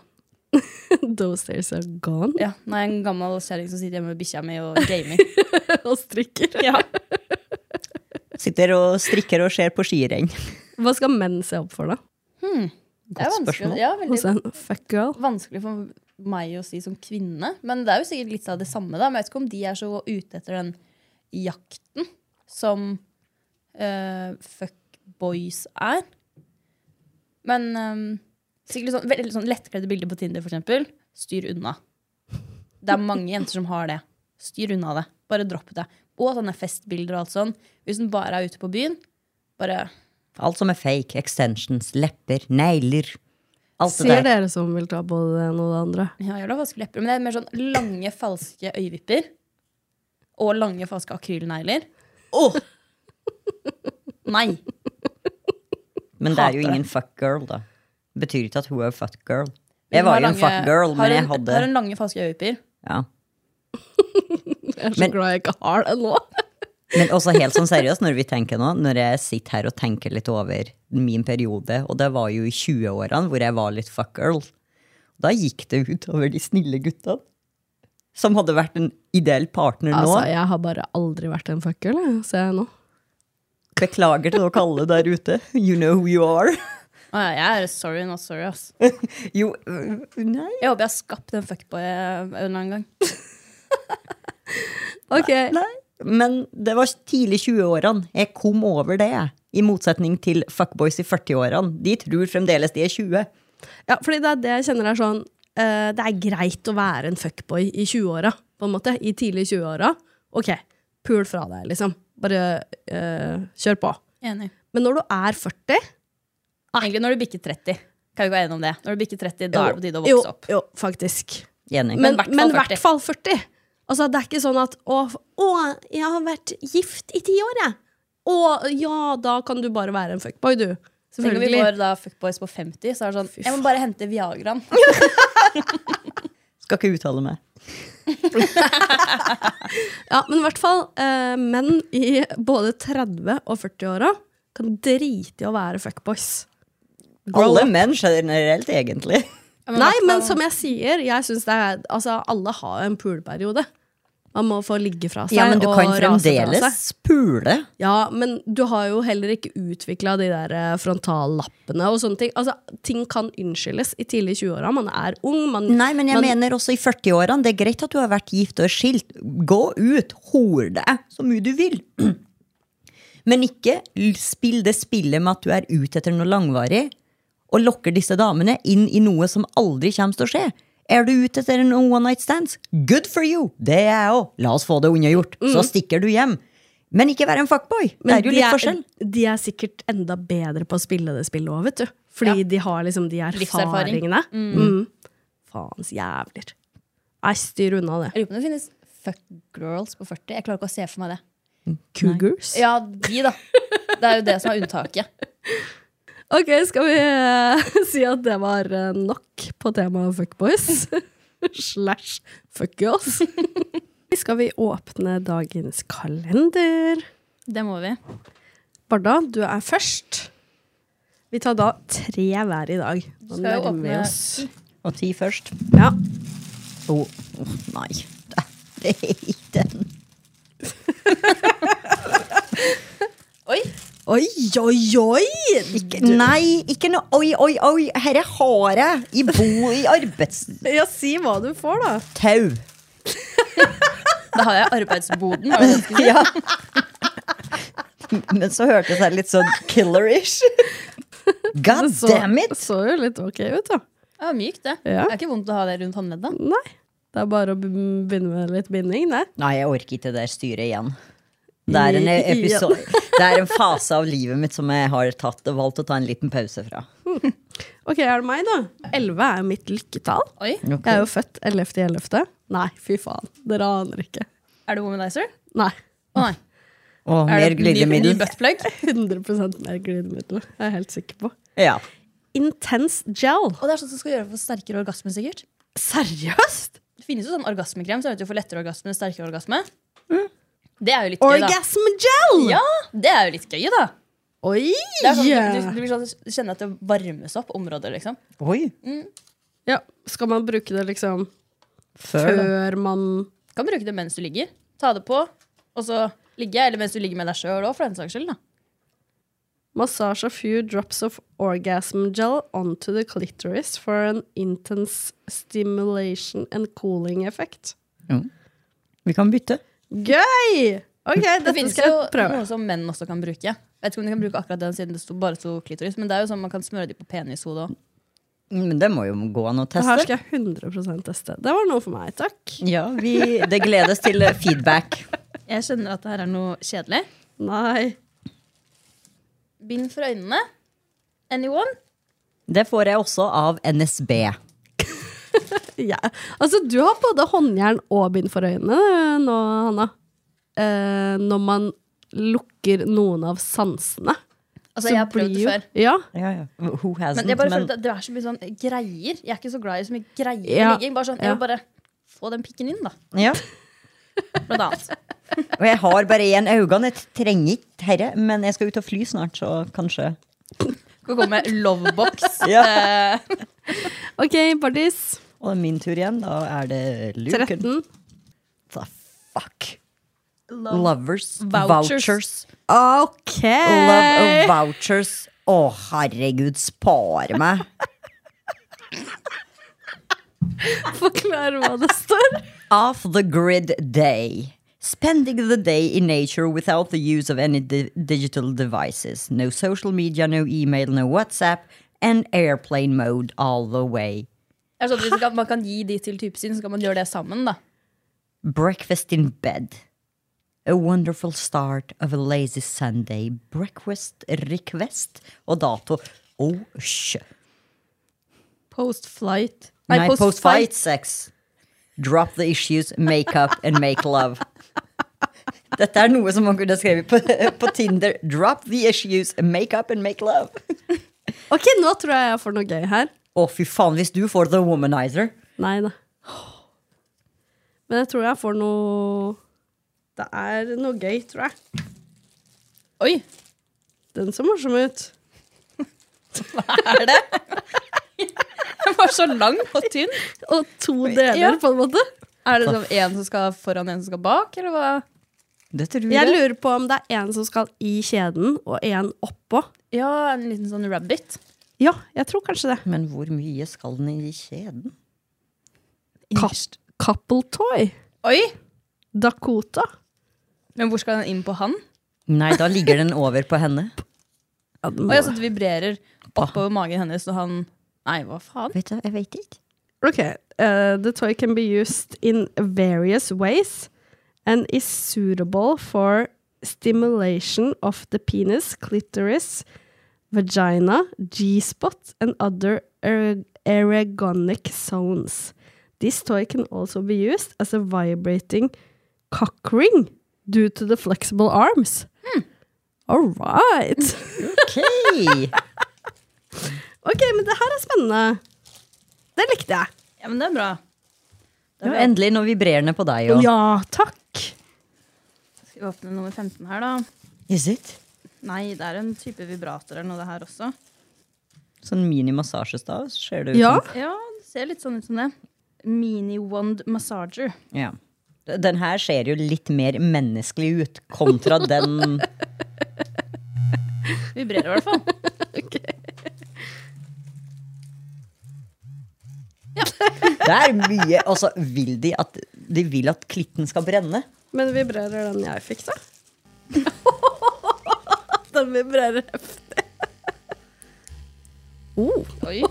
Those days are gone. Ja, Nå er jeg en gammel kjerring som sitter hjemme med bikkja mi og gamer. og strikker. Sitter og strikker og ser på skirenn. Hva skal menn se opp for, da? Det er vanskelig, spørsmål. ja, veldig Hos en fuckgirl? vanskelig for meg å si som kvinne. Men det er jo sikkert litt av det samme. da Men jeg vet ikke om de er så ute etter den jakten som eh, fuckboys er. Men eh, sikkert litt sånn, veldig sånn lettkledde bilder på Tinder, for eksempel. Styr unna. Det er mange jenter som har det. Styr unna det. Bare dropp det. Og sånne festbilder og alt sånn. Hvis den bare er ute på byen, bare Alt som er fake. Extensions, lepper, negler. Alt det Sier der. dere som vil ta både det ene og det andre. Ja, jeg vil ha falske lepper, men det er mer sånn lange, falske øyevipper. Og lange, falske akrylnegler. Åh! Nei! Men det er jo Hater det. ingen fuckgirl, da. Betyr ikke at hun er fuckgirl. Hvis Jeg du var har jo en lange- fuckgirl, har men jeg en- hadde Har en lange, falske øyevipper. ja. Jeg er så Men- glad jeg ikke har det nå. Men også helt sånn seriøst, når vi tenker nå, når jeg sitter her og tenker litt over min periode, og det var jo i 20-årene hvor jeg var litt fuckgirl, da gikk det ut over de snille gutta. Som hadde vært en ideell partner nå. Altså, Jeg har bare aldri vært en fuckgirl, jeg, ser jeg nå. Beklager til dere alle der ute. You know who you are. Å ja, jeg er sorry, not sorry, ass. Jo, øh, nei. Jeg håper jeg har skapt en fuckboy eh, en eller annen gang. Ok, Nei. Men det var tidlig 20-årene. Jeg kom over det. jeg. I motsetning til fuckboys i 40-årene. De tror fremdeles de er 20. Ja, fordi det er det jeg kjenner er sånn eh, Det er greit å være en fuckboy i 20-åra, på en måte. I tidlig 20-åra. Ok, pul fra deg, liksom. Bare eh, kjør på. Enig. Men når du er 40 Egentlig når du bikker 30. Kan vi gå enige om det? Når du bikker 30, da er det på tide å jo, vokse opp. Jo, faktisk. Enig. Men hvert fall men i 40. hvert fall 40. Altså, det er ikke sånn at å, f- å, jeg har vært gift i ti år, jeg. Å, ja, da kan du bare være en fuckboy, du. Tenk om vi Selvfølgelig. går da fuckboys på 50, så er det sånn Jeg må bare hente Viagraen. Skal ikke uttale meg. Ja, men i hvert fall eh, menn i både 30- og 40-åra kan drite i å være fuckboys. Alle menn generelt, egentlig. Nei, men som jeg sier, jeg synes det er, altså, alle har jo en puleperiode. Man må få ligge fra seg. Ja, men du kan og rase fra seg. fremdeles pule. Ja, men du har jo heller ikke utvikla de der eh, frontallappene og sånne ting. Altså, Ting kan unnskyldes i tidlig 20-åra. Man er ung. Man, Nei, men jeg man- mener også i 40-årene. Det er greit at du har vært gift og skilt. Gå ut, hor deg så mye du vil. Men ikke l- spill det spillet med at du er ute etter noe langvarig, og lokker disse damene inn i noe som aldri kommer til å skje. Er du ute etter en one night stands? Good for you! Det er jeg òg. La oss få det unnagjort. Så stikker du hjem. Men ikke vær en fuckboy. det men Mm. er jo litt forskjell. De er sikkert enda bedre på å spille det spillet òg, vet du. Fordi de har liksom de Livserfaring. erfaringene. Mm. Faens jævler. Nei, styr unna det. Jeg lurer på om det finnes fuck girls på 40. Jeg klarer ikke å se for meg det. Cougars. Ja, de, da. Det er jo det som er unntaket. Ok, skal vi eh, si at det var eh, nok på temaet fuckboys? Slash fuckgirls. skal vi åpne dagens kalender? Det må vi. Barda, du er først. Vi tar da tre hver i dag. Nå Skal jo nærmer vi åpne- oss. Og ti først. Ja. Å, åh, nei. Det- Det er ikke den. Oi! Oi, oi, oi! Ikke, nei, ikke noe oi, oi, oi. Herre har jeg i bo i arbeidstau. Ja, si hva du får, da. Da har jeg arbeidsboden. Var det det du skulle si? Ja. Men så hørtes jeg litt sånn killerish. God Så, damn it! så jo litt ok ut, da. Ja, mykt, det. Ja. Det er ikke vondt å ha det rundt håndleddet. Nei. Det er bare å be- begynne med litt binding, det. Nei, jeg orker ikke det der styret igjen. Det er, en I- igjen. episode, det er en fase av livet mitt som jeg har tatt, valgt å ta en liten pause fra. Ok, er det meg, da? Elleve er mitt lykketall. Oi, Ok. Jeg er jo født 11.11. Nei, fy faen. Dere aner ikke. Er det womanizer? Nei. Å nei. Og mer Er det Ny, ny glidemiddel. buttplug? 100 mer glidemiddel. Jeg er helt sikker på. Ja. Intense gel. Og det er sånn som skal gjøre for sterkere orgasme, sikkert. Seriøst? Det finnes jo sånn orgasmekrem, så er det jo for lettere orgasme enn sterkere orgasme. Mm. Det er jo litt gøy, da. Orgasm gel! Ja, det er jo litt gøy, da. Oi! Det er sånn, du, du, blir sånn, du kjenner at det varmes opp området, liksom. Oi. Ja, skal man bruke det liksom Før. da. før man Du kan bruke det mens du ligger. Ta det på, og så ligger jeg, eller mens du ligger med deg sjøl òg, for den saks skyld. da. Massage a few drops of orgasm gel onto the clitoris for an intense stimulation and cooling effect. Vi kan bytte. Gøy! Ok, Det dette finnes skal jo jeg prøve. noe som menn også kan bruke. Jeg vet ikke om de kan bruke akkurat den siden det sto, bare sto klitoris, men det er jo sånn man kan smøre de på penishodet òg. Mm, Men det må jo gå an å Det her teste. skal jeg 100 teste. Det var noe for meg, takk. Ja, vi, det gledes til feedback. Jeg skjønner at det her er noe kjedelig. Nei. Bind for øynene. Anyone? Det får jeg også av NSB. Ja. Altså, du har både håndjern og bind for øynene nå, Hanna. Eh, når man lukker noen av sansene. Altså, jeg har prøvd det jo- før. Ja, Who hasn't? Men jeg bare men- føler at det er så mye sånn greier. Jeg er ikke så glad i så mye greier i Ja. ligging. Bare sånn, Ja. jeg vil bare få den pikken inn, da. ja. Blant annet. Og jeg har bare én øynene. Jeg trenger ikke herre, men jeg skal ut og fly snart, så kanskje. Skal komme med lovebox. Ja. Eh, Ok, Bardis. Og det er min tur igjen. Da er det luken. 13. The fuck. Lovers. Vouchers. Vouchers. Ok! Love of vouchers. Å, herregud, spar meg. Forklar hva det står. Off the grid day. Spending the day in nature without the use of any di- digital devices. No social media, no email, no WhatsApp. And airplane mode all the way. jeg skjønner, hvis man kan- man kan gi de til typen sin, så kan man gjøre det sammen, da. Breakfast in bed. A wonderful start of a lazy Sunday. Breakfast request og dato. Oh, shit. Post flight. Nei, post, fight sex. Drop the issues, make up and make love. Dette er noe som man kunne skrevet på, på Tinder. Drop the issues, make up and make love. Ok, nå tror jeg jeg får noe gøy her. Å, fy faen, hvis du får the womanizer. Nei da. Men jeg tror jeg får noe Det er noe gøy, tror jeg. Oi! Den så morsom ut. Er det? Den var så lang og tynn. Og to deler, Ja. på en måte. Er det sånn en som skal foran, en som skal bak? Eller hva? Det tror Jeg jeg. lurer på om det er en som skal i kjeden, og en oppå. Ja, en liten sånn rabbit. Ja, jeg tror kanskje det. Men hvor mye skal den i kjeden? Kap couple toy. Oi! Dakota. Men hvor skal den inn på han? Nei, da ligger den over på henne. Ja, det må- Oi, altså det vibrerer oppover magen hennes når han Nei, hva faen? Vet du, jeg vet ikke. Okay. Uh, the toy can be used in various ways and is suitable for stimulation of the penis, clitoris, vagina, G-spot and other er ergonic zones. This toy can also be used as a vibrating cock ring due to the flexible arms. All right. Ok! Ok, men det her er spennende. Det likte jeg. Ja, men det er bra. Det var endelig noe vibrerende på deg òg. Ja, takk. Skal vi åpne nummer 15 her, da? Is it? Nei, det er en type vibrator eller noe, det her også. Sånn mini-massasjestav ser det ut Ja. som. Ja, det ser litt sånn ut som det. Mini-wand massager. Ja. Den her ser jo litt mer menneskelig ut kontra den Vibrerer i hvert fall. Det er mye Altså, vil de at De vil at klitten skal brenne? Men vibrerer den jeg fikk, da? den vibrerer heftig. Oh. Oi.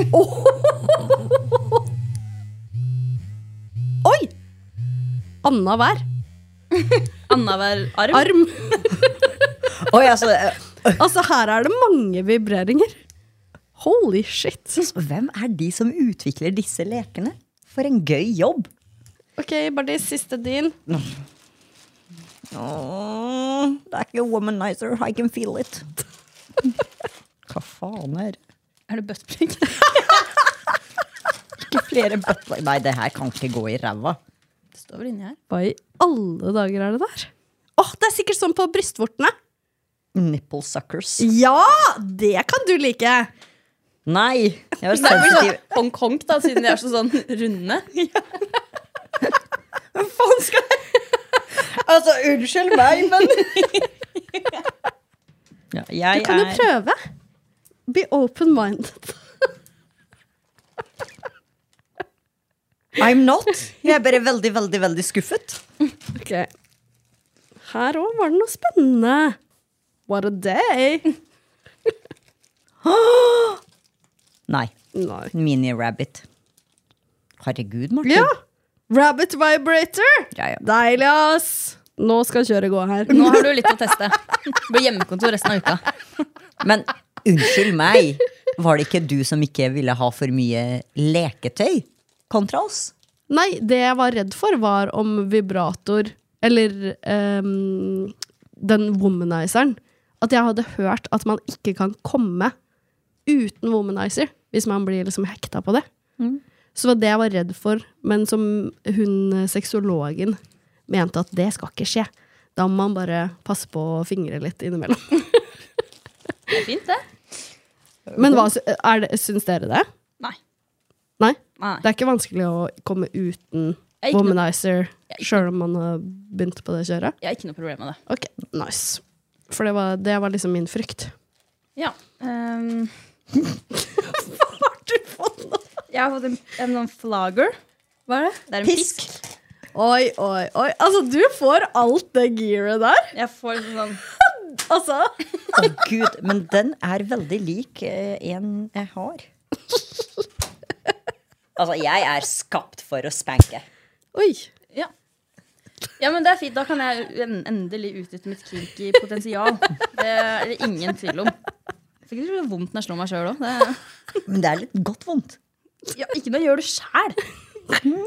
Oi! Annenhver Annenhver arm. arm. Oi, altså eh, Altså, her er det mange vibreringer. Holy shit. altså, Hvem er de som utvikler disse lekene? For en gøy jobb! Ok, Bardis, siste din. Åh, det er ikke womanizer. I can feel it. Hva faen er Er det buttplug? Ikke flere bøtter Nei, det her kan ikke gå i ræva. Det står vel inni her. Hva i alle dager er det der? Åh, Det er sikkert sånn på brystvortene. Nipple suckers. Ja! Det kan du like. Nei! Jeg var Det er vel sensitiv. sånn Hongkong, da, siden de er så sånn runde. Altså, unnskyld meg, men ja, Jeg Du kan jo er prøve. Be open-minded. I'm not. Jeg er bare veldig, veldig, veldig skuffet. Ok. Her òg var det noe spennende. What a day! Nei. Nei. Mini-rabbit. Herregud, Martin. Ja! Rabbit vibrator! Ja, ja. Deilig, ass! Nå skal kjøret gå her. Nå har du litt å teste. Det blir hjemmekontor resten av uka. Men unnskyld meg, var det ikke du som ikke ville ha for mye leketøy kontra oss? Nei, det jeg var redd for, var om vibrator Eller ehm, den womanizeren. At jeg hadde hørt at man ikke kan komme uten womanizer hvis man blir liksom hekta på det. Så det var det jeg var redd for, men som hun eh, sexologen mente at det skal ikke skje. Da må man bare passe på å fingre litt innimellom. Det er fint, det. Men hva, sy- er det, syns dere det? Nei. Nei? Nei. Det er ikke vanskelig å komme uten Jeg er ikke noe- womanizer, sjøl om man har begynt på det kjøret? Jeg har ikke noe problem med det. Ok, nice. For det var, det var liksom min frykt. Ja. ehm. Jeg har fått en, en sånn flagger. Hva er det? Det er en Pisk. pisk. Oi, oi, oi. Altså, du får alt det gearet der. Jeg får liksom sånn Altså. Å gud, men den er veldig lik eh, en jeg har. Altså, jeg er skapt for å spanke. Oi. Ja. ja, men det er fint. Da kan jeg en- endelig utnytte mitt kinky potensial. Det er det ingen tvil om. Jeg fikk litt vondt når jeg slår meg sjøl òg. Men det er litt godt vondt. Ja, ikke når jeg gjør det sjæl.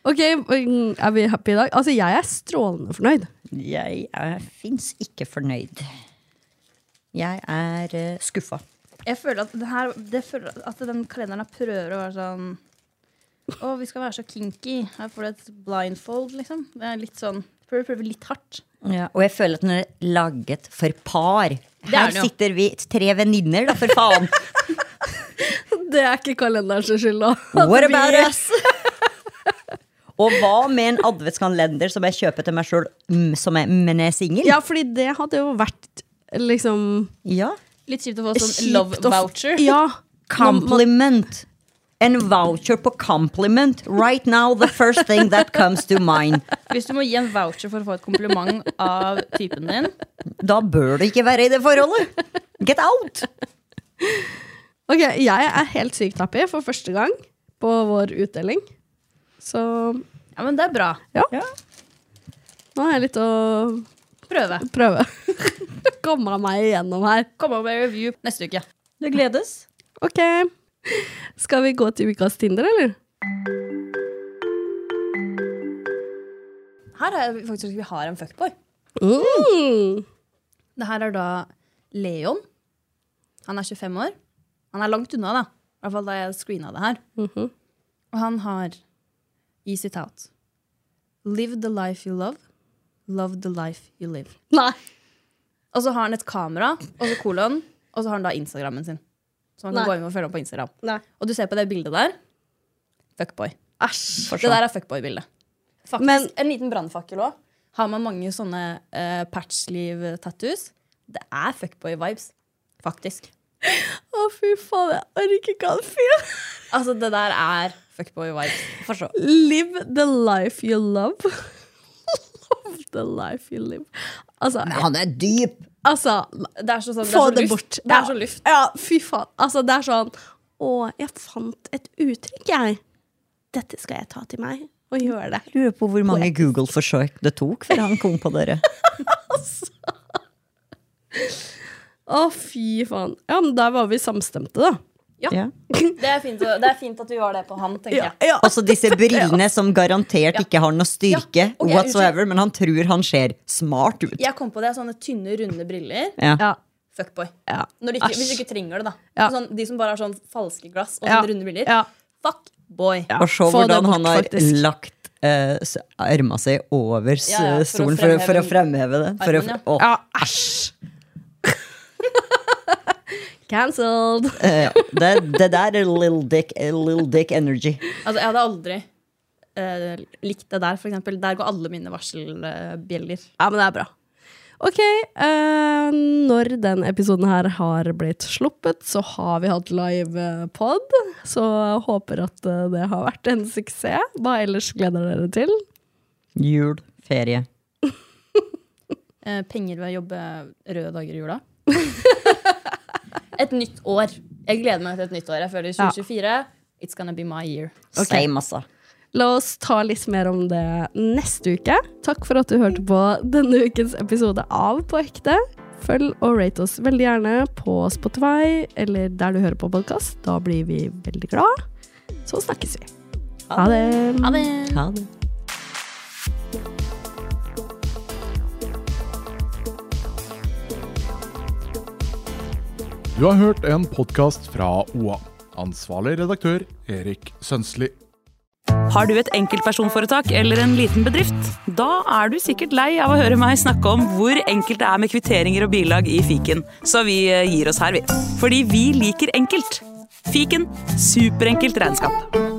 Ok, mm, er vi happy i dag? Altså, jeg er strålende fornøyd. Jeg er fins ikke fornøyd. Jeg er uh, skuffa. Jeg føler at, den her, det føler at den kalenderen her prøver å være sånn Å, vi skal være så kinky. Her får du et blindfold, liksom. Det er litt sånn Prøver prøver litt hardt. Ja, og jeg føler at den er laget for par. Det er Her den jo. sitter vi tre venninner, da, for faen. Det er ikke kalenderens skyld, da. What about us? Og hva med en adventskalender som jeg kjøper til meg sjøl, som er, men er singel? Ja, fordi det hadde jo vært liksom Ja. Litt kjipt å få sånn kjipt love å f- voucher. Ja. Compliment. En voucher på compliment. Right now, the first thing that comes to mind. Hvis du må gi en voucher for å få et kompliment av typen din Da bør du ikke være i det forholdet. Get out! Ok, jeg er helt sykt happy for første gang på vår utdeling. Så Ja, men det er bra. ja. Nå har jeg litt å Prøve. prøve. Komme meg igjennom her. Kom opp med review neste uke. Det gledes. Ok. Skal vi gå til ukas Tinder, eller? Her er vi faktisk vi har en fuckboy. Mm. Det her er da Leon. Han er 25 år. Han er langt unna, da. I hvert fall da jeg screena det her. Mhm. Og han har i sitt out Live the life you love. Love the life you live. Nei. Og så har han et kamera, og så kolon, og så har han da Instagrammen sin. Så man kan Nei. gå inn og følge ham på Instagram. Nei. Og du ser på det bildet der. Fuckboy. Æsj. Det der er fuckboy-bildet. Faktisk Men- en liten brannfakkel òg. Har man mange sånne uh, patchliv-tattoos, det er fuckboy-vibes. Faktisk. Å, fy faen, jeg orker ikke han fyren. Altså, det der er fuckboy-vibes. Forstå. Live the life you love. love the life you live. Altså, Han er dyp. altså Det er så sånn, det Få er så det luft. bort. Det er så luft. Ja, fy faen. Altså, det er sånn Å, jeg fant et uttrykk, jeg. Dette skal jeg ta til meg og gjøre det. Lurer på hvor mange Google-forsøk det tok før han kom på dere. Å, fy faen. Ja, men der var vi samstemte, da. Ja. Det er, fint, å- det er fint at vi var det på han, tenker jeg. ja. Altså disse brillene som garantert ikke har noe styrke Ja, ok, unnskyld. whatsoever, men han tror han ser smart ut. Jeg kom på det. Sånne tynne, runde briller. Ja. ja. Fuckboy. ja. Når du ikke, Æsj. hvis du ikke trenger det, da. Ja. Sånn, de som bare har sånn falske glass og Ja. sånne runde briller. Ja. Fuckboy. Ja. Og se Få det hvordan bort, han har faktisk. lagt eh, s- arma si over s- Ja, ja, for å stolen for, å- for å fremheve det. For å, armen, ja. å, Ja, æsj. Cancelled. eh, ja. det, det der er little dick, eh, little dick energy. Altså, jeg hadde aldri eh, likt det der, for eksempel. Der går alle mine varselbjeller. Ja, men det er bra. Ok, eh, når den episoden her har blitt sluppet, så har vi hatt livepod. Så jeg håper at eh, det har vært en suksess. Hva ellers gleder dere til? Jul, ferie. Eh, penger ved å jobbe røde dager i jula. et nytt år. Jeg gleder meg til et nytt år. Jeg føler 2024 It's gonna be my year. Same, altså. La oss ta litt mer om det neste uke. Takk for at du hørte på denne ukens episode av På ekte. Følg og rate oss veldig gjerne på Spotify eller der du hører på podkast. Da blir vi veldig glad. Så snakkes vi. Ha det. Ha det! Ha det. Du har hørt en podkast fra OA. Ansvarlig redaktør Erik Sønsli. Har du et enkeltpersonforetak eller en liten bedrift? Da er du sikkert lei av å høre meg snakke om hvor enkelt det er med kvitteringer og bilag i fiken, så vi eh, gir oss her, vi. Fordi vi liker enkelt. Fiken superenkelt regnskap.